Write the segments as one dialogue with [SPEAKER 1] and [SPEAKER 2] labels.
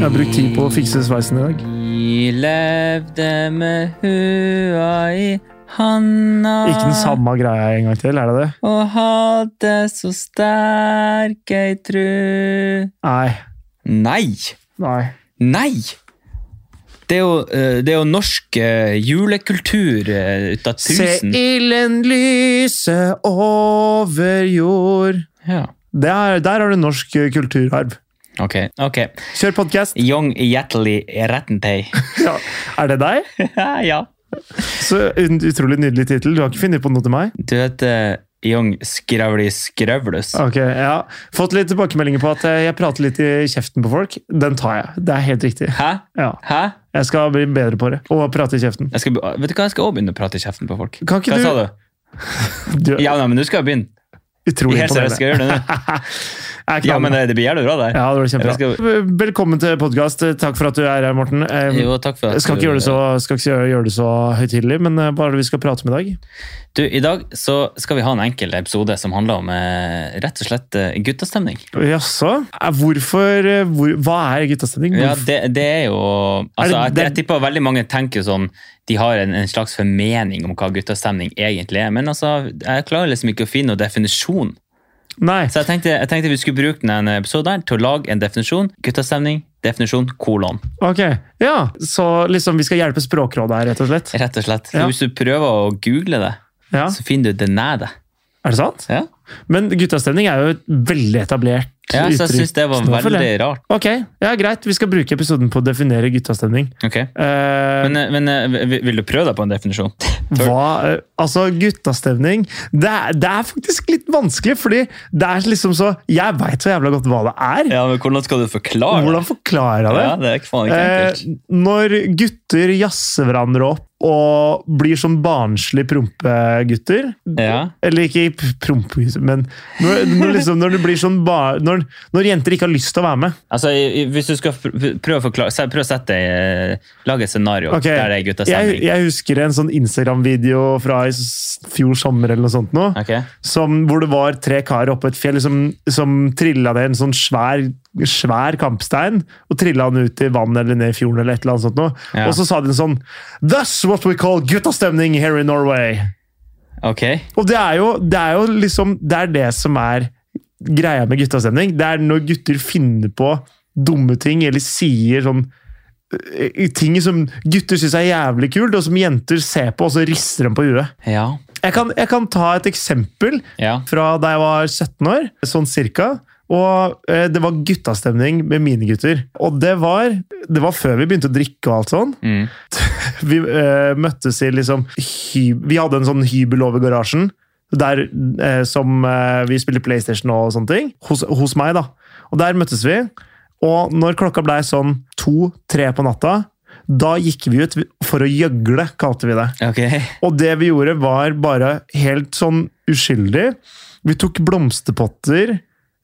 [SPEAKER 1] har brukt tid på å fikse sveisen i dag.
[SPEAKER 2] Vi levde med hua i handa
[SPEAKER 1] Ikke den samme greia en gang til, er det det?
[SPEAKER 2] og hadde så sterk ei tru.
[SPEAKER 1] Nei.
[SPEAKER 2] Nei!
[SPEAKER 1] Nei.
[SPEAKER 2] Nei! Det er jo, eh, det er jo norsk eh, julekultur eh, ut av tusen.
[SPEAKER 1] ilden lyse over jord.
[SPEAKER 2] Ja.
[SPEAKER 1] Der, der har du norsk eh, kulturarv.
[SPEAKER 2] Ok, ok.
[SPEAKER 1] Kjør podkast.
[SPEAKER 2] Young Hjertelig Rettentei.
[SPEAKER 1] Ja. Er det deg?
[SPEAKER 2] ja.
[SPEAKER 1] Så un- Utrolig nydelig tittel. Du har ikke funnet på noe til meg?
[SPEAKER 2] Du heter Young Skravli Skrøvlus.
[SPEAKER 1] Ok, ja. Fått litt tilbakemeldinger på at eh, jeg prater litt i kjeften på folk. Den tar jeg. Det er helt riktig.
[SPEAKER 2] Hæ?
[SPEAKER 1] Ja,
[SPEAKER 2] Hæ?
[SPEAKER 1] Jeg skal bli bedre på det. Og prate i kjeften.
[SPEAKER 2] Jeg skal, be- vet du hva, jeg skal også begynne å prate i kjeften på folk.
[SPEAKER 1] Kan ikke
[SPEAKER 2] hva
[SPEAKER 1] du-
[SPEAKER 2] sa du?
[SPEAKER 1] Du er
[SPEAKER 2] Ja, nei, men du skal begynne.
[SPEAKER 1] utrolig
[SPEAKER 2] Helt seriøst,
[SPEAKER 1] imponerende.
[SPEAKER 2] skal jeg gjøre det nå?
[SPEAKER 1] Jeg er
[SPEAKER 2] Ja, men
[SPEAKER 1] knallhard.
[SPEAKER 2] det, det blir jævlig bra, det.
[SPEAKER 1] ja, det var
[SPEAKER 2] Jeg skal-
[SPEAKER 1] kjempebra. Velkommen til podkast. Takk for at du er her, Morten. Eh,
[SPEAKER 2] Jo, takk for at
[SPEAKER 1] Jeg skal
[SPEAKER 2] du-
[SPEAKER 1] ikke gjøre det så, skal ikke gjøre det så høytidelig, men eh, bare det vi skal prate om i dag.
[SPEAKER 2] Du, I dag så skal vi ha en enkel episode som handler om eh, rett og slett eh, guttastemning.
[SPEAKER 1] Jaså? Eh, Hvorfor eh, hvor, Hva er guttastemning?
[SPEAKER 2] Ja,
[SPEAKER 1] Hvorfor-
[SPEAKER 2] det, det er jo altså,
[SPEAKER 1] Er det-
[SPEAKER 2] jeg,
[SPEAKER 1] det-
[SPEAKER 2] jeg tipper veldig mange tenker jo sånn De har en, en slags formening om hva guttastemning egentlig er, men altså, jeg klarer liksom ikke å finne noen definisjon.
[SPEAKER 1] Nei.
[SPEAKER 2] Så jeg tenkte, jeg tenkte vi skulle bruke denne episoden her til å lage en definisjon. Guttastemning, definisjon, kolon.
[SPEAKER 1] Ok. Ja. Så liksom, vi skal hjelpe Språkrådet her, rett og slett?
[SPEAKER 2] Rett og slett.
[SPEAKER 1] Ja.
[SPEAKER 2] Så Hvis du prøver å google det,
[SPEAKER 1] Ja.
[SPEAKER 2] så finner du det nær deg.
[SPEAKER 1] Er det sant?
[SPEAKER 2] Ja.
[SPEAKER 1] Men guttastemning er jo et veldig etablert
[SPEAKER 2] Ja, så jeg
[SPEAKER 1] uttrykk.
[SPEAKER 2] syns det var
[SPEAKER 1] Nå føler
[SPEAKER 2] veldig
[SPEAKER 1] jeg-
[SPEAKER 2] rart.
[SPEAKER 1] Ok, ja, greit. Vi skal bruke episoden på å definere guttastemning.
[SPEAKER 2] Ok.
[SPEAKER 1] Eh,
[SPEAKER 2] Men, eh, men eh, vi- vil du prøve deg på en definisjon?
[SPEAKER 1] hva, eh, altså, guttastemning det er, det er faktisk litt vanskelig, fordi det er liksom så Jeg veit så jævla godt hva det er.
[SPEAKER 2] Ja, men Hvordan skal du forklare
[SPEAKER 1] Hvordan forklarer jeg det?
[SPEAKER 2] Ja, det er faen ikke
[SPEAKER 1] Eh,
[SPEAKER 2] enkelt.
[SPEAKER 1] når gutter jazzer hverandre opp og blir som barnslig prompegutter
[SPEAKER 2] Ja.
[SPEAKER 1] Eller ikke p- prompegutter, men når, når, liksom, når, du blir sånn bar, når, når jenter ikke har lyst til å være med.
[SPEAKER 2] Altså, i- i- Hvis du skal pr- prøve å forklare, se- prøv å sette deg, eh, lage et scenario
[SPEAKER 1] Ok,
[SPEAKER 2] der det er
[SPEAKER 1] Jeg,
[SPEAKER 2] guttastemning.
[SPEAKER 1] jeg husker en sånn Instagram-video fra i s- fjor sommer eller noe sånt nå,
[SPEAKER 2] Ok?
[SPEAKER 1] som, hvor det var tre karer oppe på et fjell som, som trilla ned en sånn svær, svær kampstein og trilla han ut i vann eller ned i fjorden eller et eller annet sånt noe.
[SPEAKER 2] Ja.
[SPEAKER 1] Og så sa de sånn That's what we call guttastemning here in Norway.
[SPEAKER 2] ok.
[SPEAKER 1] Og det er jo, det er jo liksom Det er det som er greia med guttastemning. Det er når gutter finner på dumme ting eller sier sånn eh, Ting som gutter syns er jævlig kult, og som jenter ser på, og så rister dem på huet.
[SPEAKER 2] Ja.
[SPEAKER 1] Jeg kan, jeg kan ta et eksempel
[SPEAKER 2] ja.
[SPEAKER 1] fra da jeg var 17 år, sånn cirka. Og eh, det var guttastemning med mine gutter. Og det var, det var før vi begynte å drikke og alt sånn.
[SPEAKER 2] Mm.
[SPEAKER 1] Vi eh, møttes i liksom hy Vi hadde en sånn hybel over garasjen. Der eh, som eh, vi spiller PlayStation og sånne ting. Hos, hos meg, da. Og der møttes vi. Og når klokka blei sånn to-tre på natta, da gikk vi ut for å gjøgle, kalte vi det.
[SPEAKER 2] Ok.
[SPEAKER 1] Og det vi gjorde var bare helt sånn uskyldig. Vi tok blomsterpotter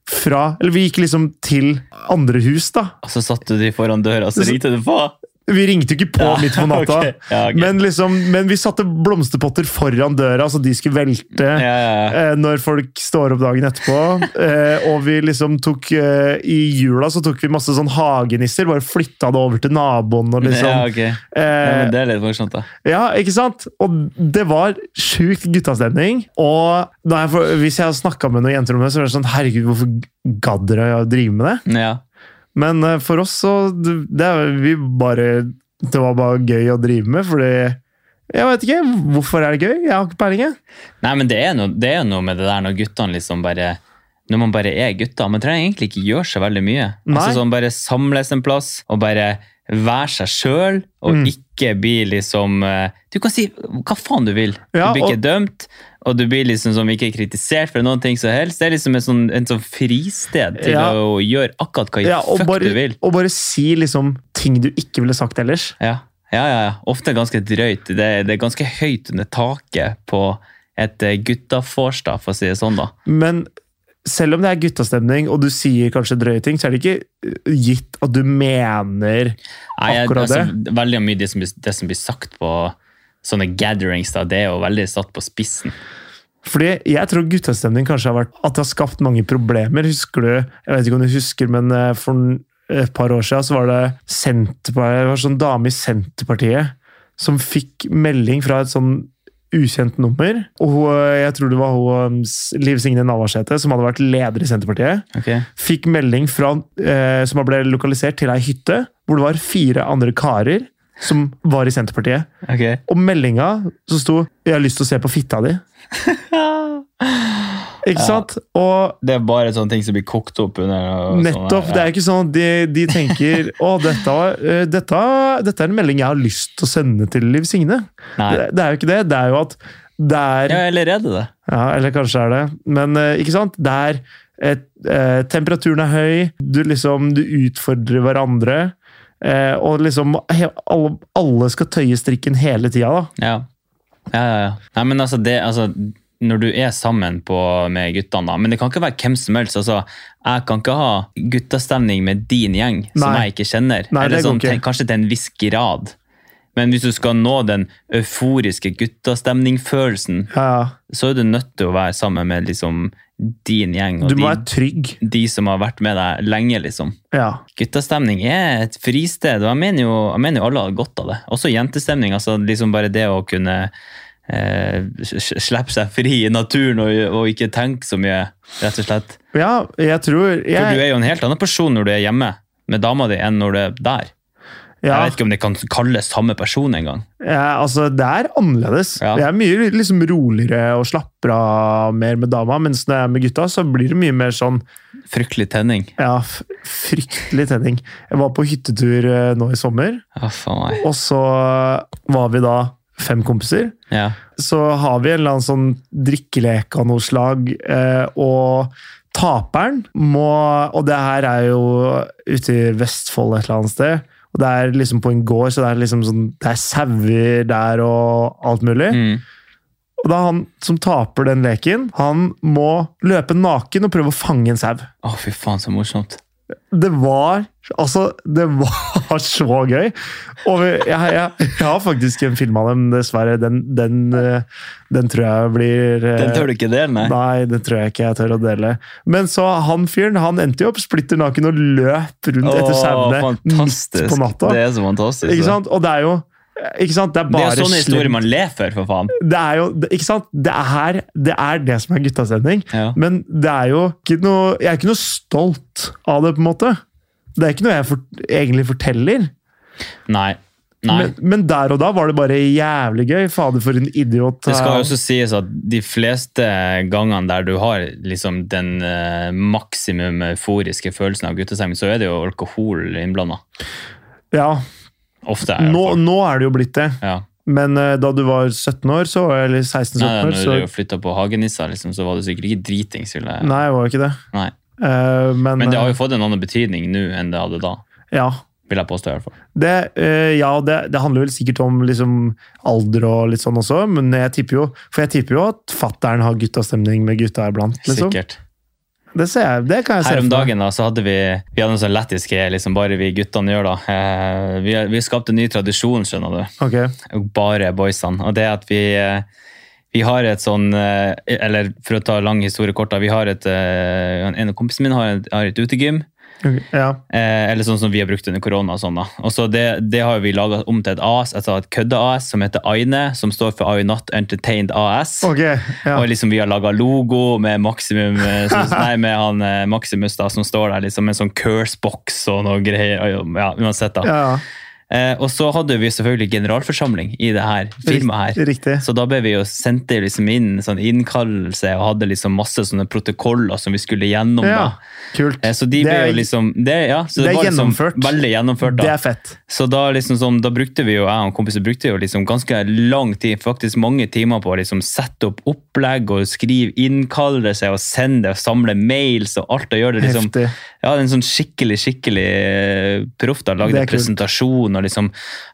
[SPEAKER 1] fra Eller vi gikk liksom til andre hus, da.
[SPEAKER 2] Og så satte du de foran døra, så ringte du på?
[SPEAKER 1] Vi ringte jo ikke på midt på natta,
[SPEAKER 2] ok. Ja, ok.
[SPEAKER 1] men, liksom, men vi satte blomsterpotter foran døra, så de skulle velte.
[SPEAKER 2] Ja, ja, ja.
[SPEAKER 1] eh, Når folk står opp dagen etterpå. Eh, og vi liksom tok eh, I jula så tok vi masse sånn hagenisser. Bare flytta det over til naboen og
[SPEAKER 2] ja,
[SPEAKER 1] liksom.
[SPEAKER 2] ok. ja,
[SPEAKER 1] eh,
[SPEAKER 2] men det er litt morsomt, da.
[SPEAKER 1] Ja, ikke sant? Og det var sjukt guttastemning. Og da jeg, for- hvis jeg har snakka med noen jenter om det, så er det sånn Herregud, hvorfor gadd dere å drive med det?
[SPEAKER 2] Ja.
[SPEAKER 1] Men eh, for oss så det, det er- vi bare, Det var bare gøy å drive med, fordi Jeg vet ikke. Hvorfor er det gøy? Jeg har ikke peiling, jeg.
[SPEAKER 2] Nei, men det er, noe, det er noe med det der når guttene liksom bare Når man bare er gutter. Man trenger egentlig ikke gjøre så veldig mye.
[SPEAKER 1] Nei.
[SPEAKER 2] Altså sånn Bare samles en plass og bare være seg sjøl, og
[SPEAKER 1] Mm.
[SPEAKER 2] ikke bli liksom eh, Du kan si hva faen du vil.
[SPEAKER 1] Ja,
[SPEAKER 2] du blir ikke dømt, og du blir liksom som ikke kritisert for noen ting som helst. Det er liksom en sånn, en sånn fristed til
[SPEAKER 1] Ja.
[SPEAKER 2] å gjøre akkurat hva
[SPEAKER 1] Ja, og,
[SPEAKER 2] fuck du
[SPEAKER 1] bare,
[SPEAKER 2] vil.
[SPEAKER 1] og bare si liksom ting du ikke ville sagt ellers.
[SPEAKER 2] Ja. Ja, ja, ja. Ofte ganske drøyt. Det, det er ganske høyt under taket på et eh, guttafors, da, for å si det sånn, da.
[SPEAKER 1] Men selv om det er guttastemning, og du sier kanskje drøye ting, så er det ikke eh, gitt at du mener
[SPEAKER 2] Nei, jeg,
[SPEAKER 1] Akkurat
[SPEAKER 2] altså, Veldig mye det som, blir- det som blir sagt på sånne gatherings, da, det er jo veldig satt på spissen.
[SPEAKER 1] Fordi jeg tror guttastemning kanskje har vært at det har skapt mange problemer. Husker du, jeg vet ikke om du husker, men eh, for et par år siden så var det, Senterpartiet, det var sånn dame i Senterpartiet som fikk melding fra et sånn ukjent nummer. Og hun- eh, jeg tror det var hun, Liv Signe Navarsete som hadde vært leder i Senterpartiet
[SPEAKER 2] Ok.
[SPEAKER 1] fikk melding fra, eh, som ble lokalisert til ei hytte, hvor det var fire andre karer som var i Senterpartiet.
[SPEAKER 2] ok.
[SPEAKER 1] Og meldinga så sto 'Jeg har lyst til å se på fitta di'. Ikke
[SPEAKER 2] Ja.
[SPEAKER 1] sant? Og
[SPEAKER 2] Det er bare sånne ting som blir kokt opp under og
[SPEAKER 1] nettopp.
[SPEAKER 2] sånne-
[SPEAKER 1] Det er ikke sånn at de, de tenker 'Å, dette, var- eh, dette, dette er en melding jeg har lyst til å sende til Liv Signe'.
[SPEAKER 2] Nei.
[SPEAKER 1] Det, det er jo ikke det. Det er jo at det
[SPEAKER 2] Ja,
[SPEAKER 1] er
[SPEAKER 2] eller er det det?
[SPEAKER 1] Ja, eller kanskje er det. Men eh, ikke sant? Det er et, eh, Temperaturen er høy, du, liksom, du utfordrer hverandre. eh, og liksom he, alle, alle skal tøye strikken hele tida, da.
[SPEAKER 2] Ja. Ja, ja, ja. Nei, men altså, det, altså når du er sammen på, med guttene, da, men det kan ikke være hvem som helst. Altså, jeg kan ikke ha guttastemning med din gjeng, som
[SPEAKER 1] Nei.
[SPEAKER 2] jeg ikke kjenner.
[SPEAKER 1] Nei,
[SPEAKER 2] Eller
[SPEAKER 1] det går
[SPEAKER 2] sånn,
[SPEAKER 1] ikke.
[SPEAKER 2] til- Kanskje til en viss grad. Men hvis du skal nå den euforiske guttastemningfølelsen,
[SPEAKER 1] Ja, ja.
[SPEAKER 2] så er du nødt til å være sammen med liksom, din gjeng og
[SPEAKER 1] Du
[SPEAKER 2] de,
[SPEAKER 1] må være trygg.
[SPEAKER 2] de som har vært med deg lenge. liksom.
[SPEAKER 1] Ja.
[SPEAKER 2] Guttastemning er et fristed, og jeg mener jo, jeg mener jo alle har godt av det. Også jentestemning. altså liksom Bare det å kunne eh, s- s- slippe seg fri i naturen og, og ikke tenke så mye, rett og slett.
[SPEAKER 1] ja, jeg tror
[SPEAKER 2] For du
[SPEAKER 1] jeg,
[SPEAKER 2] er jo en helt annen person når du er hjemme med dama di, enn når du er der.
[SPEAKER 1] ja,
[SPEAKER 2] Jeg vet ikke om det kan kalles samme person engang.
[SPEAKER 1] ja, Altså, det er annerledes.
[SPEAKER 2] Ja.
[SPEAKER 1] Jeg er mye liksom roligere og slapper av mer med dama, mens når jeg er med gutta, så blir det mye mer sånn
[SPEAKER 2] Fryktelig tenning.
[SPEAKER 1] ja, f- fryktelig tenning. Jeg var på hyttetur eh, nå i sommer.
[SPEAKER 2] Å, faen meg.
[SPEAKER 1] Og så var vi da fem kompiser.
[SPEAKER 2] Ja.
[SPEAKER 1] Så har vi en eller annen sånn drikkelek av noe slag, eh, og taperen må Og det her er jo ute i Vestfold et eller annet sted. Og det er liksom på en gård, så det er liksom sånn Det er sauer der og alt mulig.
[SPEAKER 2] Mm.
[SPEAKER 1] Og da han som taper den leken, han må løpe naken og prøve å fange en sau.
[SPEAKER 2] Å, fy faen, så morsomt.
[SPEAKER 1] Det var Altså, det var så gøy! Og vi- jeg, jeg, jeg har faktisk en film av dem, dessverre. Den, den, eh, den tror jeg blir eh,
[SPEAKER 2] Den tør du ikke dele, nei?
[SPEAKER 1] Nei, den tror jeg ikke jeg tør å dele. Men så han fyren han endte jo opp splitter naken og løp rundt etter
[SPEAKER 2] Å,
[SPEAKER 1] sauene midt
[SPEAKER 2] fantastisk.
[SPEAKER 1] på natta.
[SPEAKER 2] Det er så fantastisk. altså.
[SPEAKER 1] Ikke sant? Og det er jo ikke sant? Det er
[SPEAKER 2] Det er
[SPEAKER 1] bare
[SPEAKER 2] jo sånn sånne
[SPEAKER 1] slemt.
[SPEAKER 2] historier man ler for, for faen.
[SPEAKER 1] Det er jo det- Ikke sant? Det er det, er det som er guttastemning.
[SPEAKER 2] Ja.
[SPEAKER 1] Men det er jo ikke noe Jeg er ikke noe stolt av det, på en måte. Det er ikke noe jeg for, egentlig forteller.
[SPEAKER 2] Nei. Nei.
[SPEAKER 1] Men, men der og da var det bare jævlig gøy. Fader, for en idiot.
[SPEAKER 2] Det skal
[SPEAKER 1] eh,
[SPEAKER 2] jo også sies at de fleste gangene der du har liksom den eh, maksimum euforiske følelsen av guttestemning, så er det jo alkohol innblanda.
[SPEAKER 1] ja,
[SPEAKER 2] Ofte. Er det
[SPEAKER 1] nå,
[SPEAKER 2] alkohol.
[SPEAKER 1] nå er det jo blitt det.
[SPEAKER 2] ja.
[SPEAKER 1] Men eh, da du var 17 år, så, eller
[SPEAKER 2] Nei,
[SPEAKER 1] 16-17 år,
[SPEAKER 2] når
[SPEAKER 1] så
[SPEAKER 2] du flytta på Hagenissa, liksom, så var det sikkert ikke dritings. Ville. jeg-
[SPEAKER 1] Nei, jeg var jo ikke det.
[SPEAKER 2] Nei.
[SPEAKER 1] Eh, men,
[SPEAKER 2] Men det har
[SPEAKER 1] eh,
[SPEAKER 2] jo fått en annen betydning nå enn det hadde da.
[SPEAKER 1] ja.
[SPEAKER 2] Vil jeg påstå, i hvert fall.
[SPEAKER 1] Det, eh, ja, det, det handler vel sikkert om liksom, alder og litt sånn også, men jeg tipper jo, for jeg tipper jo at fattern har guttastemning med gutta iblant. Liksom.
[SPEAKER 2] Sikkert.
[SPEAKER 1] Det, ser jeg, det kan jeg se
[SPEAKER 2] Her om
[SPEAKER 1] for meg.
[SPEAKER 2] dagen da, så hadde vi, vi hadde en sånn lættis greie, liksom bare vi guttene gjør da. Eh, Vi, vi skapte en ny tradisjon, skjønner du.
[SPEAKER 1] Ok.
[SPEAKER 2] og bare boysene. Og det at vi, eh, vi har et sånn eh, Eller for å ta lang historie kort, da. Vi har et, eh, en av kompisene mine har et, har et utegym.
[SPEAKER 1] Ok, Ja.
[SPEAKER 2] Eh, eller sånn som vi har brukt under korona. og sånn da. Og så det, det har vi laga om til et AS, altså et kødde-AS som heter Aine, som står for I Not Entertained AS.
[SPEAKER 1] Ok, ja.
[SPEAKER 2] Og liksom vi har laga logo med Maximum eh, som, Nei, med han eh, Maximus da, som står der liksom med en sånn curse-box og noe greier. Ja, uansett da.
[SPEAKER 1] ja, ja.
[SPEAKER 2] Eh, og så hadde vi selvfølgelig generalforsamling i det her firmaet her.
[SPEAKER 1] Rikt- Riktig.
[SPEAKER 2] Så da ble vi jo sendt liksom inn en sånn innkallelse og hadde liksom masse sånne protokoller som vi skulle gjennom.
[SPEAKER 1] Ja,
[SPEAKER 2] da.
[SPEAKER 1] kult.
[SPEAKER 2] Eh, Så de
[SPEAKER 1] Det
[SPEAKER 2] ble
[SPEAKER 1] er-
[SPEAKER 2] jo liksom Det, ja, så
[SPEAKER 1] det er
[SPEAKER 2] var liksom
[SPEAKER 1] gjennomført.
[SPEAKER 2] Veldig gjennomført.
[SPEAKER 1] Det
[SPEAKER 2] da.
[SPEAKER 1] er fett.
[SPEAKER 2] Så da liksom sånn, da brukte vi jo, jeg og kompiser brukte jo liksom ganske lang tid, faktisk mange timer på å liksom sette opp opplegg og skrive innkallelse og sende og samle mails og alt og gjøre det liksom
[SPEAKER 1] Heftig.
[SPEAKER 2] ja, det er en sånn skikkelig, skikkelig eh, proff. da,
[SPEAKER 1] Det
[SPEAKER 2] Lagde
[SPEAKER 1] er kult.
[SPEAKER 2] presentasjon og liksom,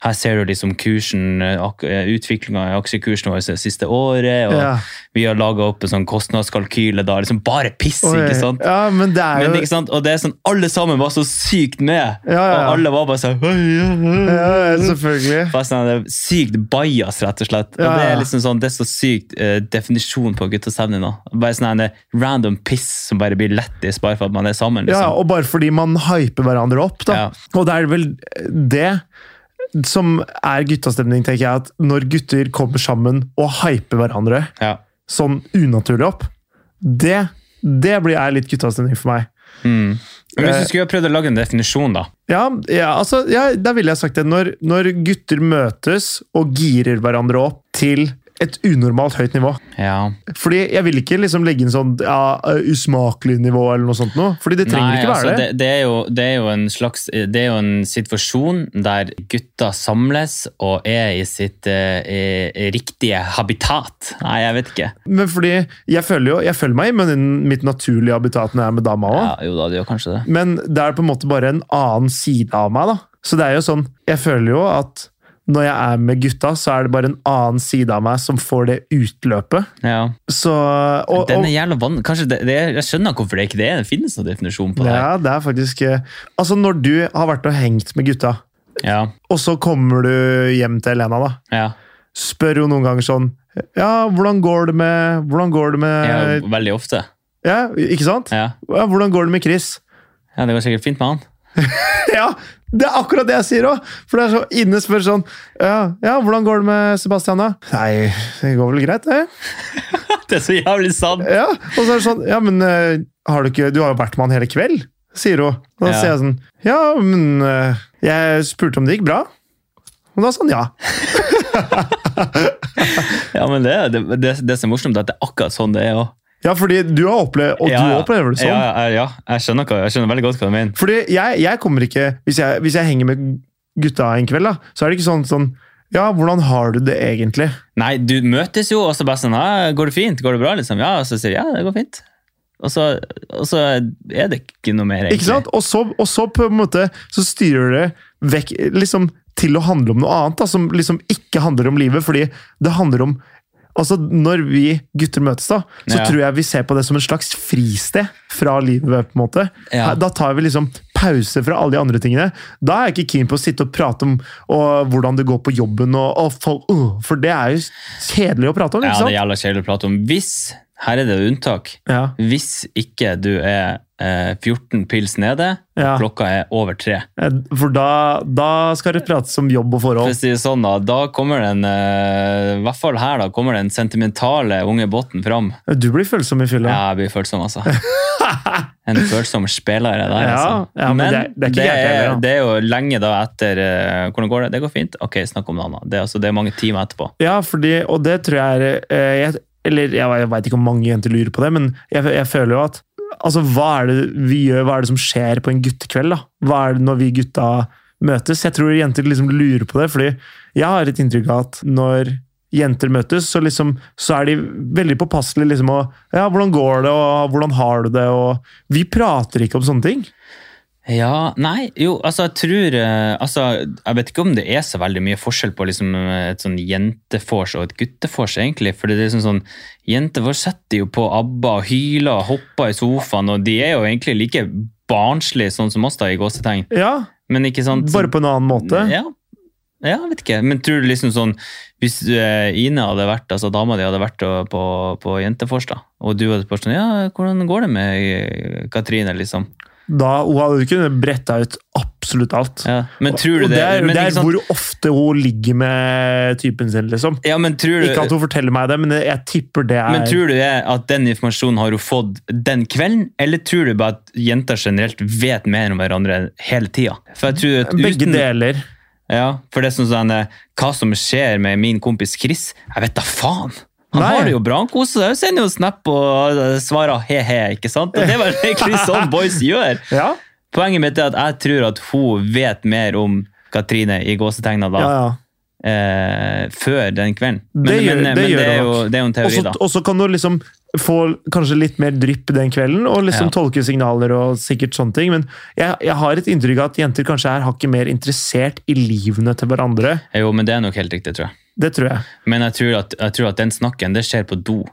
[SPEAKER 2] her ser du liksom kursen, utviklinga i aksjekursen vår det siste året, og
[SPEAKER 1] Ja.
[SPEAKER 2] vi har laga opp en sånn kostnadskalkyle da, liksom bare piss,
[SPEAKER 1] Oi.
[SPEAKER 2] ikke sant?
[SPEAKER 1] Ja, men det er jo
[SPEAKER 2] Men, ikke sant? Og det er sånn, alle sammen var så sykt med,
[SPEAKER 1] Ja, ja, ja.
[SPEAKER 2] og alle var bare sånn «Oi, ja, ja, ja».
[SPEAKER 1] ja, Selvfølgelig.
[SPEAKER 2] Bare sånn, det er sykt bias, rett og slett. Og
[SPEAKER 1] Ja,
[SPEAKER 2] Det
[SPEAKER 1] ja.
[SPEAKER 2] er liksom sånn, det er så sykt eh, definisjon på guttastemning nå. Bare sånn her, det er random piss som bare blir lættis bare for at man er sammen.
[SPEAKER 1] Ja,
[SPEAKER 2] liksom.
[SPEAKER 1] og bare fordi man hyper hverandre opp, da.
[SPEAKER 2] Ja.
[SPEAKER 1] Og det er vel det som er guttastemning, tenker jeg. At når gutter kommer sammen og hyper hverandre
[SPEAKER 2] Ja.
[SPEAKER 1] sånn unaturlig opp, det, det blir er litt guttastemning for meg.
[SPEAKER 2] Mm. Men
[SPEAKER 1] Eh,
[SPEAKER 2] Hvis du skulle ha prøvd å lage en definisjon, da.
[SPEAKER 1] Ja, ja, altså, ja, da ville jeg sagt det. Når, når gutter møtes og girer hverandre opp til et unormalt høyt nivå.
[SPEAKER 2] Ja.
[SPEAKER 1] Fordi Jeg vil ikke liksom legge inn sånn ja, usmakelig nivå eller noe sånt. Noe, fordi det trenger ikke være
[SPEAKER 2] altså,
[SPEAKER 1] det.
[SPEAKER 2] det. Det, er jo, det er jo en slags eh, Det er jo en situasjon der gutta samles og er i sitt eh, eh, riktige habitat. Nei, jeg vet ikke.
[SPEAKER 1] Men fordi jeg føler jo, jeg føler meg i min- mitt naturlige habitat når jeg er med dama òg.
[SPEAKER 2] Ja, jo da, det gjør kanskje det.
[SPEAKER 1] Men det er på en måte bare en annen side av meg, da. Så det er jo sånn, jeg føler jo at når jeg er med gutta, så er det bare en annen side av meg som får det utløpet.
[SPEAKER 2] Ja.
[SPEAKER 1] Så og,
[SPEAKER 2] Den
[SPEAKER 1] og,
[SPEAKER 2] er jævla vann... Kanskje det, det, er- jeg skjønner hvorfor det ikke det, er- det finnes noen definisjon på det. her.
[SPEAKER 1] Ja, det er faktisk eh, Altså, når du har vært og hengt med gutta,
[SPEAKER 2] Ja,
[SPEAKER 1] og så kommer du hjem til Elena, da.
[SPEAKER 2] ja.
[SPEAKER 1] Spør jo noen ganger sånn Ja, hvordan går det med Hvordan går det
[SPEAKER 2] ja
[SPEAKER 1] med
[SPEAKER 2] veldig ofte.
[SPEAKER 1] Ja, ikke sant?
[SPEAKER 2] Ja.
[SPEAKER 1] Ja, hvordan går det med Chris?
[SPEAKER 2] ja, det går sikkert fint med han.
[SPEAKER 1] Ja, det er akkurat det jeg sier òg! For det er så inne spør sånn ja, ja, hvordan går det med Sebastian, da? Nei, det går vel greit, det.
[SPEAKER 2] Det er så jævlig sant!
[SPEAKER 1] Ja, Og så er det sånn Ja, men eh, har du ikke Du har jo vært med han hele kveld, sier hun. Og da
[SPEAKER 2] Ja.
[SPEAKER 1] sier jeg sånn Ja, men eh, jeg spurte om det gikk bra. Og da sa han ja.
[SPEAKER 2] Ja, men det, det, det, det som er morsomt, er at det er akkurat sånn det er òg.
[SPEAKER 1] Ja, fordi du har opplevd Og du opplever det sånn.
[SPEAKER 2] Ja, ja, ja, jeg skjønner, hva, jeg skjønner veldig godt hva du mener.
[SPEAKER 1] Fordi jeg, jeg kommer ikke hvis jeg, hvis jeg henger med gutta en kveld, da, så er det ikke sånn sånn Ja, hvordan har du det egentlig?
[SPEAKER 2] Nei, du møtes jo, og så bare sånn ja, 'Går det fint? Går det bra?' liksom. Ja, og så sier jeg, ja, det går fint. Og så, og så er det ikke noe mer, egentlig.
[SPEAKER 1] Ikke sant? Og så, og så på en måte så styrer det vekk liksom til å handle om noe annet, da, som liksom ikke handler om livet, fordi det handler om Altså, når vi gutter møtes, da, så
[SPEAKER 2] Ja.
[SPEAKER 1] tror jeg vi ser på det som en slags fristed fra livet. på en måte.
[SPEAKER 2] Ja.
[SPEAKER 1] Her- Da tar vi liksom pause fra alle de andre tingene. Da er jeg ikke keen på å sitte og prate om og, hvordan det går på jobben, og, og folk, øh, for det er jo kjedelig å prate om.
[SPEAKER 2] Ja,
[SPEAKER 1] ikke
[SPEAKER 2] det er
[SPEAKER 1] sant?
[SPEAKER 2] jævla kjedelig å prate om. Hvis, her er det unntak,
[SPEAKER 1] Ja,
[SPEAKER 2] hvis ikke du er eh, 14 pils nede, og
[SPEAKER 1] Ja. Eh,
[SPEAKER 2] klokka er over tre.
[SPEAKER 1] For da, da skal det prates om jobb og forhold.
[SPEAKER 2] For å si det sånn, da, da kommer den, eh, i hvert fall her, da kommer den sentimentale unge botten fram.
[SPEAKER 1] Du blir følsom i fylla.
[SPEAKER 2] Ja, jeg blir følsom, altså. En følsom spiller er det der,
[SPEAKER 1] Ja,
[SPEAKER 2] altså.
[SPEAKER 1] ja, men det- det er ikke gærent heller, da.
[SPEAKER 2] det er jo lenge da etter eh, Hvordan går det? Det går fint? Ok, snakk om noe annet. Det, er altså, det er mange timer etterpå.
[SPEAKER 1] Ja, fordi, og det tror jeg er eh, jeg, Eller jeg, jeg veit ikke om mange jenter lurer på det, men jeg, jeg føler jo at Altså, hva er det vi gjør? Hva er det som skjer på en guttekveld? da? Hva er det når vi gutta møtes? Jeg tror jenter liksom lurer på det, fordi jeg har et inntrykk av at når jenter møtes, så liksom, så er de veldig påpasselige liksom og Ja, hvordan går det, og hvordan har du det, og Vi prater ikke om sånne ting.
[SPEAKER 2] Ja, nei, jo, altså jeg tror eh, altså, Jeg vet ikke om det er så veldig mye forskjell på liksom, eh, et sånn jentefors og et guttefors, egentlig. For det er liksom sånn, jentefors setter jo på ABBA og hyler og hopper i sofaen, og de er jo egentlig like barnslige, sånn som oss, da, i gåsetegn.
[SPEAKER 1] Ja,
[SPEAKER 2] Men ikke sant?
[SPEAKER 1] Bare på en annen måte.
[SPEAKER 2] Sånn Ja. ja, jeg vet ikke. Men tror du liksom sånn Hvis eh, Ine hadde vært, altså dama di hadde vært og- på, på Jentefors, da, og du hadde spurt sånn Ja, hvordan går det med eh, Katrine, liksom?
[SPEAKER 1] Da hun hadde jo kunnet bretta ut absolutt alt.
[SPEAKER 2] Ja. Men tror du
[SPEAKER 1] og
[SPEAKER 2] det?
[SPEAKER 1] det er,
[SPEAKER 2] men,
[SPEAKER 1] det er
[SPEAKER 2] ikke sant?
[SPEAKER 1] hvor ofte hun ligger med typen sin, liksom.
[SPEAKER 2] ja, men tror
[SPEAKER 1] Ikke at
[SPEAKER 2] du
[SPEAKER 1] hun forteller meg det, men jeg tipper det er
[SPEAKER 2] men tror du det er at den informasjonen har hun fått den kvelden, eller tror du bare at jenter generelt vet mer om hverandre hele tida? For jeg tror at
[SPEAKER 1] Begge
[SPEAKER 2] uten,
[SPEAKER 1] deler.
[SPEAKER 2] Ja, for det er sånn sånn, eh, hva som skjer med min kompis Chris, jeg vet da faen. Han
[SPEAKER 1] Nei.
[SPEAKER 2] har det jo bra, han koser seg, han sender jo snap og eh, svarer he-he, ikke sant? Og det var egentlig sånn boys gjør.
[SPEAKER 1] Ja,
[SPEAKER 2] Poenget mitt er at jeg tror at hun vet mer om Katrine i gåsetegna da,
[SPEAKER 1] ja, ja.
[SPEAKER 2] eh, før den kvelden. Men
[SPEAKER 1] Det gjør-
[SPEAKER 2] men, eh,
[SPEAKER 1] det
[SPEAKER 2] men
[SPEAKER 1] gjør
[SPEAKER 2] det,
[SPEAKER 1] det
[SPEAKER 2] er jo,
[SPEAKER 1] nok.
[SPEAKER 2] det er jo en
[SPEAKER 1] Og
[SPEAKER 2] teori,
[SPEAKER 1] så-
[SPEAKER 2] da.
[SPEAKER 1] Og så kan du liksom få kanskje litt mer drypp den kvelden, og liksom
[SPEAKER 2] Ja.
[SPEAKER 1] tolke signaler og sikkert sånne ting. Men jeg, jeg har et inntrykk av at jenter kanskje er hakket mer interessert i livene til hverandre.
[SPEAKER 2] Jo, men det er nok helt riktig, tror jeg.
[SPEAKER 1] Det tror jeg.
[SPEAKER 2] Men jeg tror at, jeg tror at den snakken, det skjer på do.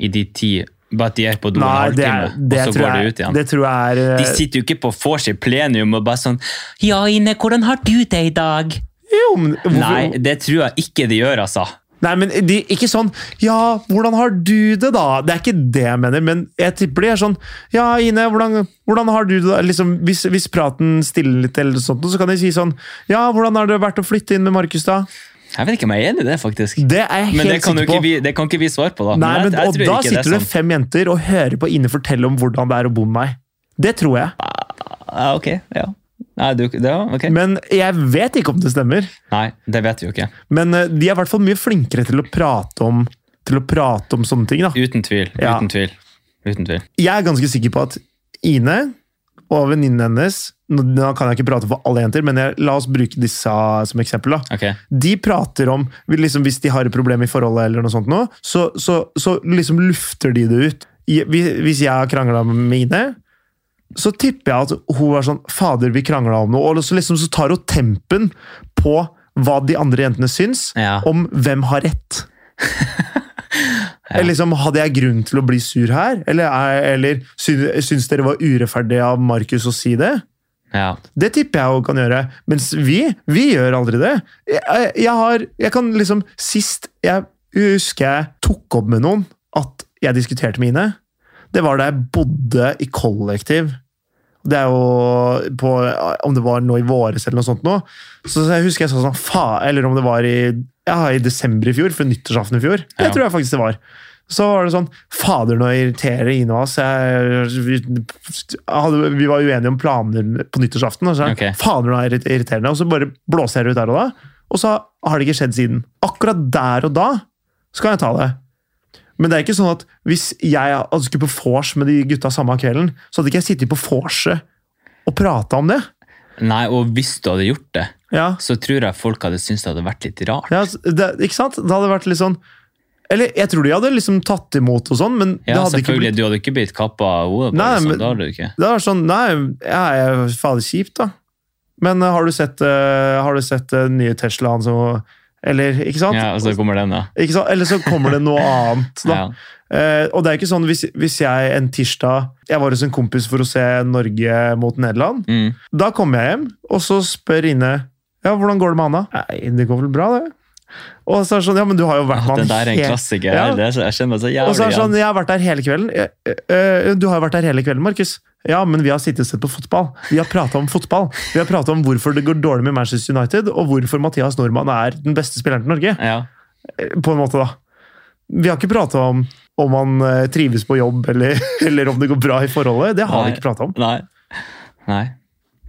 [SPEAKER 2] I de ti Bare at de er på do en
[SPEAKER 1] Nei, det, er,
[SPEAKER 2] halvtime,
[SPEAKER 1] det,
[SPEAKER 2] og så
[SPEAKER 1] tror
[SPEAKER 2] går de
[SPEAKER 1] jeg,
[SPEAKER 2] ut igjen.
[SPEAKER 1] det tror jeg er
[SPEAKER 2] De
[SPEAKER 1] eh,
[SPEAKER 2] sitter jo ikke på vors i plenum og bare sånn Ja, Ine, hvordan har du det i dag?
[SPEAKER 1] Jo, men hvorfor-
[SPEAKER 2] Nei, det tror jeg ikke de gjør, altså.
[SPEAKER 1] Nei, men de, ikke sånn Ja, hvordan har du det, da? Det er ikke det jeg mener, men jeg tipper de er sånn Ja, Ine, hvordan, hvordan har du det? da? Liksom, hvis, hvis praten stiller litt, eller sånt, så kan de si sånn Ja, hvordan har det vært å flytte inn med Markus, da?
[SPEAKER 2] Jeg vet ikke om jeg er enig i det, faktisk.
[SPEAKER 1] Det er jeg
[SPEAKER 2] Men det
[SPEAKER 1] helt
[SPEAKER 2] kan, jo
[SPEAKER 1] sikker på.
[SPEAKER 2] ikke vi, det kan ikke vi svare på, da.
[SPEAKER 1] Nei,
[SPEAKER 2] jeg-
[SPEAKER 1] men,
[SPEAKER 2] jeg
[SPEAKER 1] og
[SPEAKER 2] tror
[SPEAKER 1] da
[SPEAKER 2] ikke
[SPEAKER 1] sitter det
[SPEAKER 2] sånn.
[SPEAKER 1] fem jenter og hører på Ine fortelle om hvordan det er å bo med meg. Det tror jeg.
[SPEAKER 2] Ja, ok, ja. Nei, du, det, ja, ok.
[SPEAKER 1] Men jeg vet ikke om det stemmer.
[SPEAKER 2] Nei, det vet vi jo ikke.
[SPEAKER 1] Men eh, de er i hvert fall mye flinkere til å prate om, til å prate om sånne ting. da.
[SPEAKER 2] Uten tvil.
[SPEAKER 1] Ja.
[SPEAKER 2] Uten tvil. Uten tvil.
[SPEAKER 1] Jeg er ganske sikker på at Ine og venninnen hennes nå, nå kan jeg ikke prate for alle jenter, men jeg, la oss bruke disse som eksempel. da.
[SPEAKER 2] Ok.
[SPEAKER 1] De prater om liksom, Hvis de har et problem i forholdet, eller noe sånt nå, så, så, så liksom lufter de det ut. I- Hvis hvis jeg har krangla med Ine, så tipper jeg at hun er sånn Fader, vi krangla om noe. Og så, liksom, så tar hun tempen på hva de andre jentene syns
[SPEAKER 2] Ja.
[SPEAKER 1] om hvem har rett. Eller liksom, Hadde jeg grunn til å bli sur her? Eller, er- eller syns, syns dere var urettferdig av Markus å si det?
[SPEAKER 2] Ja.
[SPEAKER 1] Det tipper jeg hun kan gjøre. Mens vi, vi gjør aldri det. Jeg, jeg, jeg har, jeg kan liksom, Sist jeg husker jeg tok opp med noen at jeg diskuterte med Ine, det var da jeg bodde i kollektiv. Det er jo på, Om det var nå i våres eller noe sånt nå. Så jeg husker jeg sa sånn faen Eller om det var i, ja, i desember i fjor, for nyttårsaften i fjor. Det
[SPEAKER 2] Ja.
[SPEAKER 1] tror jeg faktisk det var. Så var det sånn Fader, nå irriterer Ine oss. Jeg, vi, hadde, vi var uenige om planer på nyttårsaften. Og så, sa jeg,
[SPEAKER 2] Ok.
[SPEAKER 1] Fader, nå er det irriterende. Og så bare blåser jeg det ut der og da. Og så har det ikke skjedd siden. Akkurat der og da så kan jeg ta det. Men det er ikke sånn at hvis jeg hadde skulle på vors med de gutta samme kvelden, så hadde ikke jeg sittet på vorset og prata om det.
[SPEAKER 2] Nei, og hvis du hadde gjort det,
[SPEAKER 1] Ja.
[SPEAKER 2] så tror jeg folk hadde syntes det hadde vært litt rart.
[SPEAKER 1] Ja, s- det, ikke sant? Det hadde vært litt sånn Eller jeg tror de hadde liksom tatt imot og sånn, men det
[SPEAKER 2] Ja,
[SPEAKER 1] hadde ikke
[SPEAKER 2] selvfølgelig.
[SPEAKER 1] blitt
[SPEAKER 2] Du hadde ikke blitt kappa hodet på
[SPEAKER 1] Nei,
[SPEAKER 2] det,
[SPEAKER 1] men-
[SPEAKER 2] sånn. Da hadde du ikke.
[SPEAKER 1] Det var sånn Nei, ja, jeg er fader kjipt, da. Men eh, har du sett, eh, har du sett eh, den nye Teslaen som Eller, ikke sant?
[SPEAKER 2] Ja, og så kommer den, da.
[SPEAKER 1] ikke sant? Eller så kommer det noe annet, da.
[SPEAKER 2] Ja.
[SPEAKER 1] Eh, og det er ikke sånn hvis, hvis jeg en tirsdag Jeg var hos en kompis for å se Norge mot Nederland.
[SPEAKER 2] Mm.
[SPEAKER 1] Da kommer jeg hjem, og så spør Ine Ja, hvordan går det med Anna? Nei, det går vel bra, det. Og så er det sånn Ja, men du har jo vært med
[SPEAKER 2] Ah, Den
[SPEAKER 1] han
[SPEAKER 2] der er en
[SPEAKER 1] helt-
[SPEAKER 2] klassiker.
[SPEAKER 1] Ja.
[SPEAKER 2] Det er, jeg kjenner meg så
[SPEAKER 1] Og så er det
[SPEAKER 2] jævlig
[SPEAKER 1] sånn,
[SPEAKER 2] igjen.
[SPEAKER 1] jeg har vært der hele kvelden. Eh, eh, eh, Du har jo vært der hele kvelden, Markus. Ja, men vi har sittet og sett på fotball. Vi har prata om fotball. Vi har prata om hvorfor det går dårlig med Manchester United, og hvorfor Mathias Normann er den beste spilleren til Norge.
[SPEAKER 2] Ja.
[SPEAKER 1] Eh, På en måte, da. Vi har ikke prata om om han eh, trives på jobb, eller, eller om det går bra i forholdet. Det har vi
[SPEAKER 2] Nei.
[SPEAKER 1] ikke prata om.
[SPEAKER 2] Nei. Nei.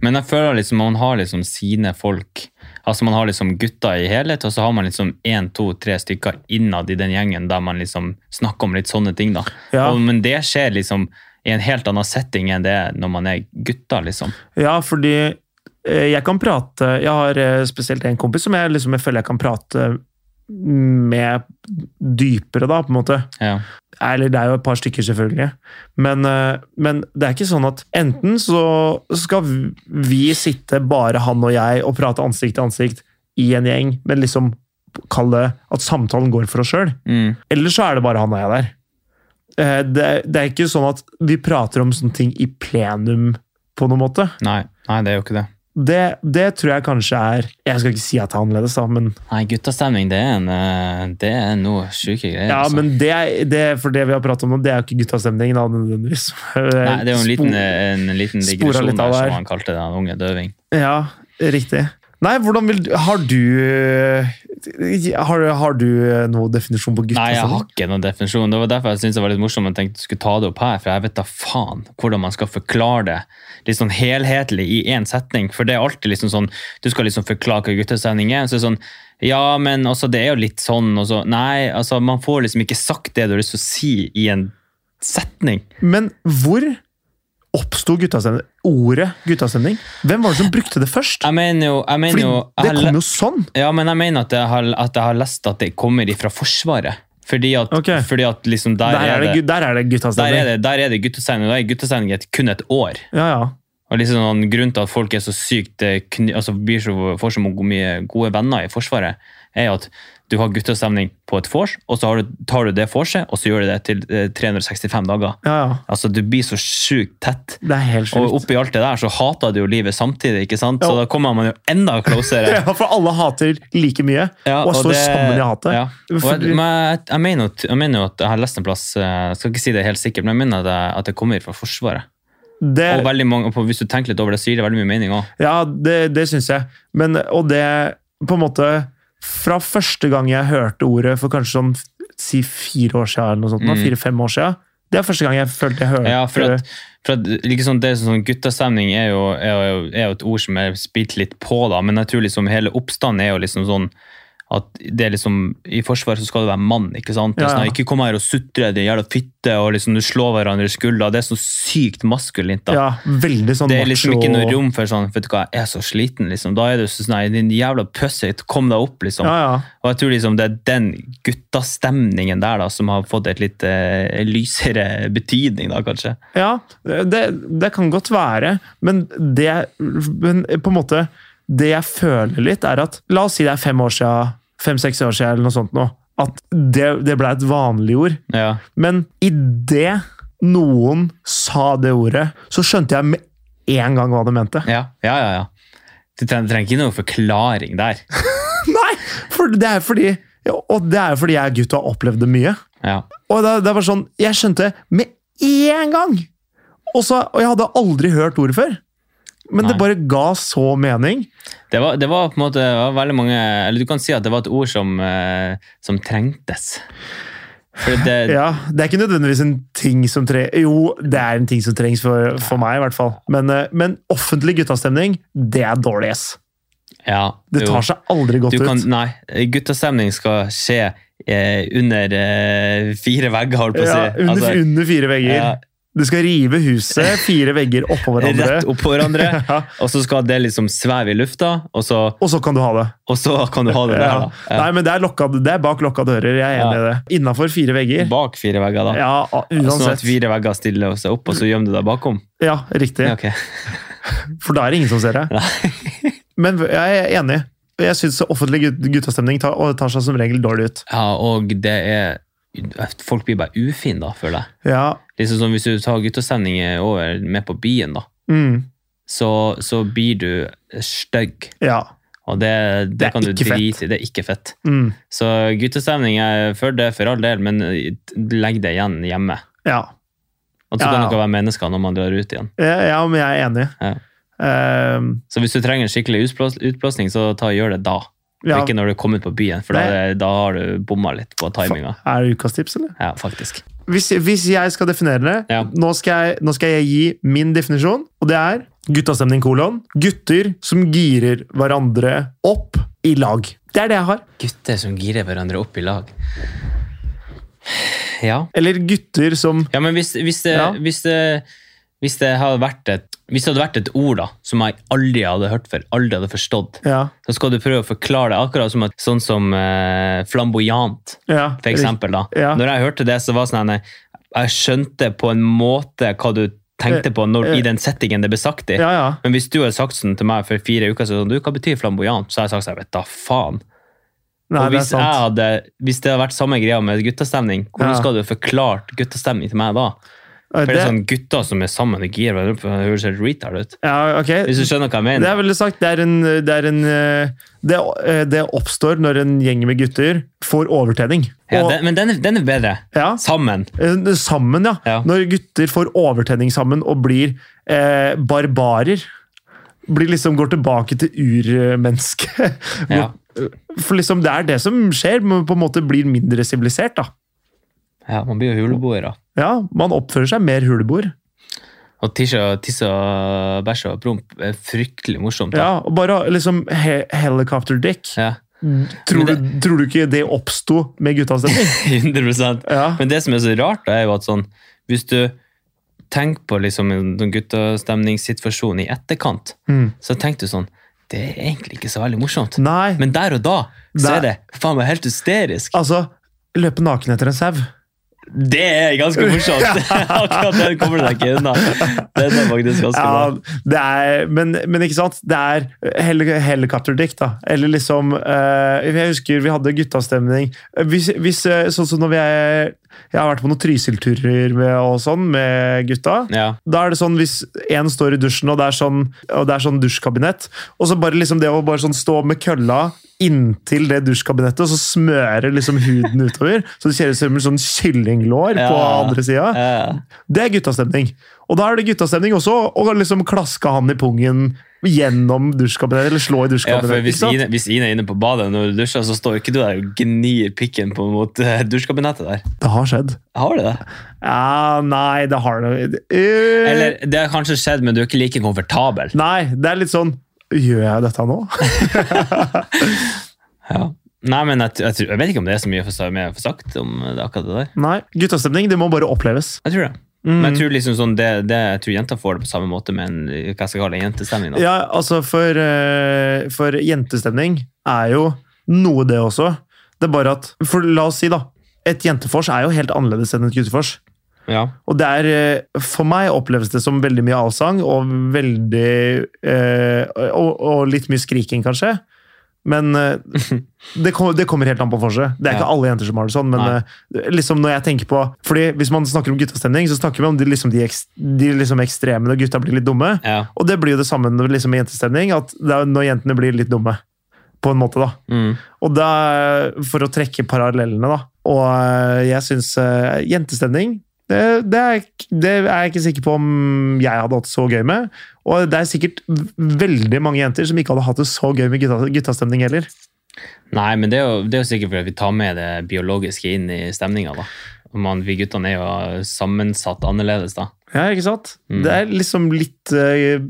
[SPEAKER 2] Men jeg føler liksom man har liksom sine folk. Altså Man har liksom gutta i helhet, og så har man liksom én, to, tre stykker innad i den gjengen der man liksom snakker om litt sånne ting. da.
[SPEAKER 1] Ja.
[SPEAKER 2] Og, men det skjer liksom i en helt annen setting enn det er når man er gutta, liksom.
[SPEAKER 1] Ja, fordi eh, jeg kan prate Jeg har eh, spesielt en kompis som jeg, liksom, jeg føler jeg kan prate mm, med dypere, da, på en måte.
[SPEAKER 2] Ja.
[SPEAKER 1] Eller det er jo et par stykker, selvfølgelig. Men, eh, men det er ikke sånn at enten så skal v- vi sitte, bare han og jeg, og prate ansikt til ansikt i en gjeng, men liksom kalle det at samtalen går for oss sjøl.
[SPEAKER 2] Mm.
[SPEAKER 1] Eller så er det bare han og jeg der. Eh, Det, det er ikke sånn at vi prater om sånne ting i plenum, på noen måte.
[SPEAKER 2] Nei. Nei, det er jo ikke det.
[SPEAKER 1] Det, det tror jeg kanskje er Jeg skal ikke si at det er annerledes, da, men
[SPEAKER 2] Nei, guttastemning, det er, en, eh, det er noe sjuke greier.
[SPEAKER 1] Ja,
[SPEAKER 2] altså.
[SPEAKER 1] men det, er- det, for det vi har pratet om nå, det er jo ikke guttastemningen, da, nødvendigvis.
[SPEAKER 2] Nei, det er jo en liten,
[SPEAKER 1] Spor-
[SPEAKER 2] eh, en liten
[SPEAKER 1] Spora
[SPEAKER 2] digresjon
[SPEAKER 1] litt av
[SPEAKER 2] der,
[SPEAKER 1] der.
[SPEAKER 2] som han kalte det, han unge døving.
[SPEAKER 1] Ja, riktig. Nei, hvordan vil du Har du Har, du- har du noe definisjon på
[SPEAKER 2] Nei, jeg har
[SPEAKER 1] guttastemning?
[SPEAKER 2] ikke noen definisjon. Det var derfor jeg syntes det var litt morsomt at jeg tenkte jeg skulle ta det opp her, for jeg vet da faen hvordan man skal forklare det litt sånn helhetlig i én setning. For det er alltid liksom sånn Du skal liksom forklare hva guttestemning er. Så er det sånn Ja, men altså, det er jo litt sånn, og så Nei, altså, man får liksom ikke sagt det du har lyst til å si i en setning.
[SPEAKER 1] Men hvor Oppsto guttastemning? Ordet guttastemning? Hvem var det som brukte det først?
[SPEAKER 2] Jeg mener jo, jeg mener
[SPEAKER 1] Fordi
[SPEAKER 2] jo jeg
[SPEAKER 1] det
[SPEAKER 2] har le-
[SPEAKER 1] kom jo sånn!
[SPEAKER 2] Ja, men jeg mener at jeg har, at jeg har lest at det kommer ifra Forsvaret. Fordi at,
[SPEAKER 1] Ok.
[SPEAKER 2] fordi at liksom der,
[SPEAKER 1] Der er det, gu- der er det
[SPEAKER 2] der er
[SPEAKER 1] guttastemning.
[SPEAKER 2] det, der er det guttesending, og da er guttesending et, kun et år.
[SPEAKER 1] Ja, ja.
[SPEAKER 2] Og liksom sånn grunn til at folk er så sykt eh, kny, altså blir så, får så mo- mye gode venner i Forsvaret, er jo at du har guttestemning på et vors, og så har du, tar du det vorset, og så gjør du det til eh, 365 dager.
[SPEAKER 1] ja, ja.
[SPEAKER 2] Altså, du blir så sjukt tett.
[SPEAKER 1] Det er helt
[SPEAKER 2] Og
[SPEAKER 1] sjukt.
[SPEAKER 2] oppi alt det der så hater du jo livet samtidig, ikke sant? Så da
[SPEAKER 1] Ja.
[SPEAKER 2] kommer man jo enda closere.
[SPEAKER 1] Ja, for alle hater like mye,
[SPEAKER 2] Ja,
[SPEAKER 1] og står
[SPEAKER 2] det-
[SPEAKER 1] sammen i hatet.
[SPEAKER 2] Ja. Og jeg, men jeg, jeg, mener jo, at- jeg mener jo at jeg har lest en plass eh, Jeg skal ikke si det helt sikkert, men jeg mener at, jeg, at det kommer fra Forsvaret.
[SPEAKER 1] Det,
[SPEAKER 2] Og veldig mange, og på- Hvis du tenker litt over det, så gir det veldig mye mening òg.
[SPEAKER 1] ja, det, det syns jeg. Men, og det på en måte Fra første gang jeg hørte ordet for kanskje sånn si fire år siden, eller noe sånt, nå,
[SPEAKER 2] Mm.
[SPEAKER 1] fire-fem år siden, det er første gang jeg følte jeg hørte
[SPEAKER 2] Ja, for at, for at liksom det som sånn Guttastemning er jo, er, jo, er jo et ord som er spilt litt på, da, men jeg tror liksom hele oppstanden er jo liksom sånn at det er liksom, I Forsvaret så skal du være mann. ikke sant? Det er
[SPEAKER 1] Ja, ja.
[SPEAKER 2] Sånn, ikke kom her og sutre, din jævla fitte, og liksom du slår hverandre i skuldra. Det er så sykt maskulint. da.
[SPEAKER 1] Ja, veldig sånn
[SPEAKER 2] Det er liksom ikke noe
[SPEAKER 1] macho-
[SPEAKER 2] rom for sånn Vet du hva, jeg er så sliten, liksom. Da er det sånn Nei, din jævla pussy, kom deg opp, liksom.
[SPEAKER 1] Ja, ja.
[SPEAKER 2] Og jeg tror liksom det er den guttastemningen der da som har fått et litt eh, lysere betydning, da, kanskje.
[SPEAKER 1] Ja, det, det kan godt være, men det men på en måte, det jeg føler litt, er at La oss si det er fem år siden, fem-seks år siden, eller noe sånt nå, at det, det ble et vanlig ord.
[SPEAKER 2] Ja.
[SPEAKER 1] Men idet noen sa det ordet, så skjønte jeg med en gang hva det mente.
[SPEAKER 2] Ja, ja, ja. ja. Du trenger, trenger ikke noen forklaring der.
[SPEAKER 1] Nei! For det er fordi, ja, og det er fordi jeg er gutt og har opplevd det mye.
[SPEAKER 2] Ja.
[SPEAKER 1] Og det, det var sånn, jeg skjønte med en gang! Og, så, og jeg hadde aldri hørt ordet før. Men det
[SPEAKER 2] Nei.
[SPEAKER 1] bare ga så mening.
[SPEAKER 2] Det var, det var på en måte det var veldig mange Eller du kan si at det var et ord som, eh, som trengtes. For det,
[SPEAKER 1] Ja, Det er ikke nødvendigvis en ting som tre... Jo, det er en ting som trengs for, for meg, i hvert fall. Men, eh, men offentlig guttastemning, det er dårlig, ass.
[SPEAKER 2] ja,
[SPEAKER 1] Det
[SPEAKER 2] jo.
[SPEAKER 1] tar seg aldri godt
[SPEAKER 2] Du kan,
[SPEAKER 1] ut.
[SPEAKER 2] nei, guttastemning skal skje eh, under eh, fire vegger, holdt på å si.
[SPEAKER 1] Ja, under,
[SPEAKER 2] Altså,
[SPEAKER 1] under fire vegger.
[SPEAKER 2] ja,
[SPEAKER 1] Du skal rive huset fire vegger oppå hverandre.
[SPEAKER 2] rett oppå hverandre,
[SPEAKER 1] Ja,
[SPEAKER 2] og så skal det liksom sveve i lufta, og så,
[SPEAKER 1] og så kan du ha det.
[SPEAKER 2] og så kan du ha det der.
[SPEAKER 1] Ja.
[SPEAKER 2] Da. Ja.
[SPEAKER 1] Nei, men det er, lokka, det er bak lukka dører. Jeg er enig i det. Innafor fire vegger.
[SPEAKER 2] Bak fire vegger, da.
[SPEAKER 1] Ja, a-
[SPEAKER 2] Sånn at
[SPEAKER 1] uansett.
[SPEAKER 2] fire vegger stiller seg opp, og så gjemmer du deg bakom.
[SPEAKER 1] Ja, riktig.
[SPEAKER 2] Ja, ok.
[SPEAKER 1] For da er det ingen som ser deg. Men jeg er enig. Jeg syns offentlig gut- guttastemning tar, og tar seg som regel dårlig ut.
[SPEAKER 2] ja og det er Folk blir bare ufine, da, føler jeg.
[SPEAKER 1] Ja.
[SPEAKER 2] Liksom som Hvis du tar guttastemning over med på byen, da,
[SPEAKER 1] Mm.
[SPEAKER 2] så, så blir du stygg.
[SPEAKER 1] Ja.
[SPEAKER 2] Og det, det,
[SPEAKER 1] Det er
[SPEAKER 2] kan du
[SPEAKER 1] ikke fett.
[SPEAKER 2] drite i. Det er ikke fett.
[SPEAKER 1] Mm.
[SPEAKER 2] Så guttestemning er for det for all del, men eh, legg det igjen hjemme.
[SPEAKER 1] ja.
[SPEAKER 2] Og så
[SPEAKER 1] Ja,
[SPEAKER 2] kan
[SPEAKER 1] ja.
[SPEAKER 2] dere være mennesker når man drar ut igjen.
[SPEAKER 1] Eh, Ja, men jeg er enig.
[SPEAKER 2] Ja.
[SPEAKER 1] Ehm,
[SPEAKER 2] Så hvis du trenger en skikkelig utblås- utblåsning, så ta, gjør det da. Og
[SPEAKER 1] ja.
[SPEAKER 2] Ikke når du kommer ut på byen, for da, er det- da har du bomma litt på timinga.
[SPEAKER 1] Er det ukas tips, eller?
[SPEAKER 2] Ja, faktisk.
[SPEAKER 1] Hvis, hvis jeg skal definere det,
[SPEAKER 2] Ja.
[SPEAKER 1] nå, skal jeg, nå skal jeg gi min definisjon, og det er guttastemning kolon. Gutter som girer hverandre opp i lag. Det er det jeg har.
[SPEAKER 2] Gutter som girer hverandre opp i lag. Ja.
[SPEAKER 1] Eller gutter som
[SPEAKER 2] Ja, men hvis, hvis, det,
[SPEAKER 1] Ja.
[SPEAKER 2] hvis, det, hvis det hadde vært et hvis det hadde vært et ord da, som jeg aldri hadde hørt før, aldri hadde forstått,
[SPEAKER 1] Ja.
[SPEAKER 2] så skal du prøve å forklare det akkurat som at, sånn som eh, flamboyant,
[SPEAKER 1] ja
[SPEAKER 2] for eksempel. Da.
[SPEAKER 1] Ja.
[SPEAKER 2] Når jeg hørte det, så var det sånn at jeg skjønte på en måte hva du tenkte på når, i den settingen det ble sagt i.
[SPEAKER 1] Eh, Ja, ja.
[SPEAKER 2] Men hvis du hadde sagt sånn til meg for fire uker siden, du, hva betyr flamboyant? Så hadde jeg sagt sånn, vet da faen.
[SPEAKER 1] Nei,
[SPEAKER 2] og
[SPEAKER 1] det er
[SPEAKER 2] hvis, jeg
[SPEAKER 1] sant.
[SPEAKER 2] hadde, hvis det hadde vært samme greia med guttastemning, hvordan
[SPEAKER 1] Ja.
[SPEAKER 2] skal du forklart guttastemning til meg da?
[SPEAKER 1] Eh,
[SPEAKER 2] For det er
[SPEAKER 1] det-
[SPEAKER 2] sånn gutter som er sammen og girer hverandre opp, det høres helt retard ut.
[SPEAKER 1] Ja, ok.
[SPEAKER 2] Hvis du skjønner hva jeg
[SPEAKER 1] Det
[SPEAKER 2] mener.
[SPEAKER 1] er veldig sagt. Det, er en, det, er en, eh, det, eh, det oppstår når en gjeng med gutter får overtenning.
[SPEAKER 2] ja,
[SPEAKER 1] Og-
[SPEAKER 2] den, men den er, den er bedre.
[SPEAKER 1] ja,
[SPEAKER 2] Sammen.
[SPEAKER 1] eh, sammen, ja.
[SPEAKER 2] Ja.
[SPEAKER 1] Når gutter får overtenning sammen og blir eh, barbarer. Blir liksom Går tilbake til urmennesket.
[SPEAKER 2] Ja.
[SPEAKER 1] For liksom, det er det som skjer, men på en måte blir mindre sivilisert. da.
[SPEAKER 2] ja, man blir jo huleboere.
[SPEAKER 1] Ja, Man oppfører seg mer huleboer.
[SPEAKER 2] Og tisse og tisse og bæsje og promp er fryktelig morsomt. Da.
[SPEAKER 1] Ja, og bare liksom he helicopter dick. Mm.
[SPEAKER 2] Ja.
[SPEAKER 1] Tror,
[SPEAKER 2] Men
[SPEAKER 1] du, tror du ikke det oppsto med guttas stemning?
[SPEAKER 2] 100
[SPEAKER 1] Ja.
[SPEAKER 2] Men det som er så rart, da, er jo at sånn, hvis du tenke på liksom en sånn guttastemningssituasjon i etterkant,
[SPEAKER 1] Mm.
[SPEAKER 2] så tenkte du sånn Det er egentlig ikke så veldig morsomt.
[SPEAKER 1] Nei,
[SPEAKER 2] Men der og da så
[SPEAKER 1] Der-
[SPEAKER 2] er det faen meg helt hysterisk.
[SPEAKER 1] altså Løpe naken etter en sau.
[SPEAKER 2] Det er ganske morsomt! Akkurat den kommer du deg ikke unna. Den er faktisk ganske
[SPEAKER 1] Ja,
[SPEAKER 2] bra.
[SPEAKER 1] det er, men, men ikke sant? Det er hel helikopterdikt, da. Eller liksom eh, Jeg husker vi hadde guttastemning. Hvis, hvis, eh, sånn som når vi er Jeg har vært på noen Trysil-turer med, og sånn, med gutta.
[SPEAKER 2] Ja.
[SPEAKER 1] Da er det sånn hvis én står i dusjen, og det er sånn, og det er sånn dusjkabinett, og så bare liksom det å bare sånn stå med kølla inntil det dusjkabinettet, og så smøre liksom huden utover, så det ser ut som en sånn kyllinglår på
[SPEAKER 2] Ja.
[SPEAKER 1] andre sida.
[SPEAKER 2] Ja.
[SPEAKER 1] Det er guttastemning. Og da er det guttastemning også å liksom klaske han i pungen gjennom dusjkabinettet, eller slå i
[SPEAKER 2] Ja, for
[SPEAKER 1] dusjkabinettet.
[SPEAKER 2] hvis
[SPEAKER 1] ikke sant?
[SPEAKER 2] Ine, hvis Ine er inne på badet når du dusjer, så står ikke du der og gnir pikken på mot eh, dusjkabinettet der.
[SPEAKER 1] Det har skjedd.
[SPEAKER 2] Har du det?
[SPEAKER 1] Ja, nei, det har det Eh,
[SPEAKER 2] Eller det har kanskje skjedd, men du er ikke like komfortabel.
[SPEAKER 1] Nei, det er litt sånn Gjør jeg dette nå?
[SPEAKER 2] Ja. Nei, men jeg, t- jeg, tror- jeg vet ikke om det er så mye for, mer å få sagt om det, akkurat det der.
[SPEAKER 1] Nei. Guttastemning, det må bare oppleves.
[SPEAKER 2] Jeg tror det. Men
[SPEAKER 1] Mm.
[SPEAKER 2] jeg tror liksom sånn, det, det, jeg tror jenter får det på samme måte med en hva skal jeg kalle det, jentestemning. Da.
[SPEAKER 1] Ja, altså for, eh, for jentestemning er jo noe det også. Det er bare at, for la oss si da, et jentefors er jo helt annerledes enn et guttefors.
[SPEAKER 2] Ja.
[SPEAKER 1] Og det er, eh, for meg oppleves det som veldig mye allsang, og veldig eh, og, og litt mye skriking kanskje. Men eh, det, kom, det kommer helt an på forset. Det er ikke
[SPEAKER 2] Ja.
[SPEAKER 1] alle jenter som har det sånn, men
[SPEAKER 2] Nei.
[SPEAKER 1] eh, liksom når jeg tenker på Fordi hvis man snakker om guttastemning, så snakker vi om de, liksom, de, ekst, de liksom ekstreme når gutta blir litt dumme.
[SPEAKER 2] ja.
[SPEAKER 1] Og det blir jo det samme når- liksom, med jentestemning, at det er når jentene blir litt dumme. På en måte, da.
[SPEAKER 2] Mm.
[SPEAKER 1] Og da, for å trekke parallellene, da. Og eh, jeg syns eh, jentestemning det, det, er, ik- det er jeg ikke sikker på om jeg hadde hatt det så gøy med. Og det er sikkert v- veldig mange jenter som ikke hadde hatt det så gøy med gutta, guttastemning heller.
[SPEAKER 2] Nei, men det er, jo, det er jo sikkert fordi vi tar med det biologiske inn i stemninga, da. Man, vi guttene er jo sammensatt annerledes, da.
[SPEAKER 1] Ja, ikke sant?
[SPEAKER 2] Mm.
[SPEAKER 1] Det er liksom litt eh,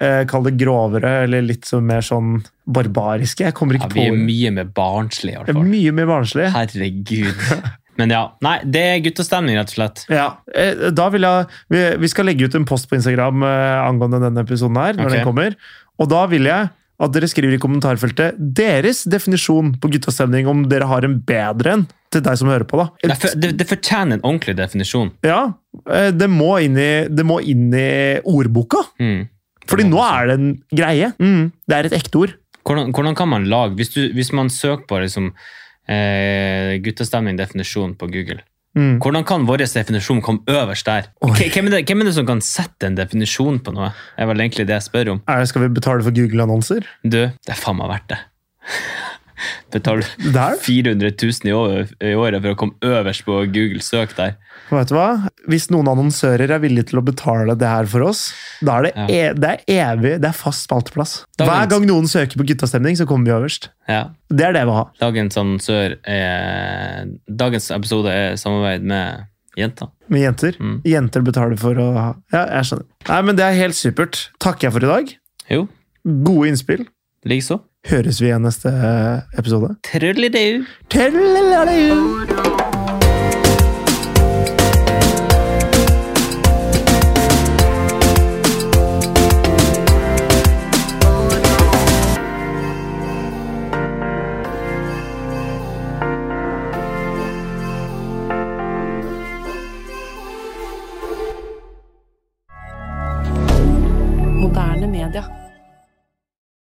[SPEAKER 1] eh, Kall det grovere, eller litt så mer sånn barbariske. Jeg kommer
[SPEAKER 2] Ja,
[SPEAKER 1] ikke
[SPEAKER 2] vi er
[SPEAKER 1] på
[SPEAKER 2] mye mer barnslige, i hvert
[SPEAKER 1] det.
[SPEAKER 2] fall.
[SPEAKER 1] er Mye mer barnslig.
[SPEAKER 2] Herregud. Men ja. Nei, det er guttastemning, rett og slett.
[SPEAKER 1] Ja, eh, da vil jeg, vi, vi skal legge ut en post på Instagram eh, angående denne episoden her, når
[SPEAKER 2] Ok.
[SPEAKER 1] den kommer. Og da vil jeg at dere skriver i kommentarfeltet deres definisjon på guttastemning, om dere har en bedre en til deg som hører på, da.
[SPEAKER 2] Det, for, det, det fortjener en ordentlig definisjon.
[SPEAKER 1] Ja, eh, det må inn i, det må inn i ordboka.
[SPEAKER 2] Mm.
[SPEAKER 1] Fordi nå er det en greie. Mm, det er et ekte ord.
[SPEAKER 2] Hvordan, hvordan kan man lage Hvis, du, hvis man søker på liksom, eh, guttastemning-definisjon på Google,
[SPEAKER 1] Mm.
[SPEAKER 2] hvordan kan vår definisjon komme øverst der?
[SPEAKER 1] Oi.
[SPEAKER 2] K- Hvem er, det, hvem er det som kan sette en definisjon på noe? Det er vel egentlig det jeg spør om.
[SPEAKER 1] Er det, skal vi betale for Google-annonser?
[SPEAKER 2] Du, det er faen meg verdt det. Betaler du
[SPEAKER 1] Det er det.
[SPEAKER 2] 400 000 i år- i året for å komme øverst på Google søk der?
[SPEAKER 1] Vet du hva? Hvis noen annonsører er villige til å betale det her for oss, da er det,
[SPEAKER 2] Ja.
[SPEAKER 1] e det er evig, det er fast spalteplass.
[SPEAKER 2] Da
[SPEAKER 1] Hver
[SPEAKER 2] vent.
[SPEAKER 1] gang noen søker på guttastemning, så kommer vi øverst.
[SPEAKER 2] Ja.
[SPEAKER 1] Det er det vi har.
[SPEAKER 2] Dagens annonsør er Dagens episode er samarbeid med jenter.
[SPEAKER 1] Med jenter.
[SPEAKER 2] Mm.
[SPEAKER 1] Jenter betaler for å ha Ja, jeg skjønner. Nei, men det er helt supert. Takker jeg for i dag.
[SPEAKER 2] Jo,
[SPEAKER 1] Gode innspill.
[SPEAKER 2] likeså.
[SPEAKER 1] Høres vi i neste eh, episode.
[SPEAKER 2] Trøllidau!
[SPEAKER 1] Tødelalau!
[SPEAKER 3] Moderne media.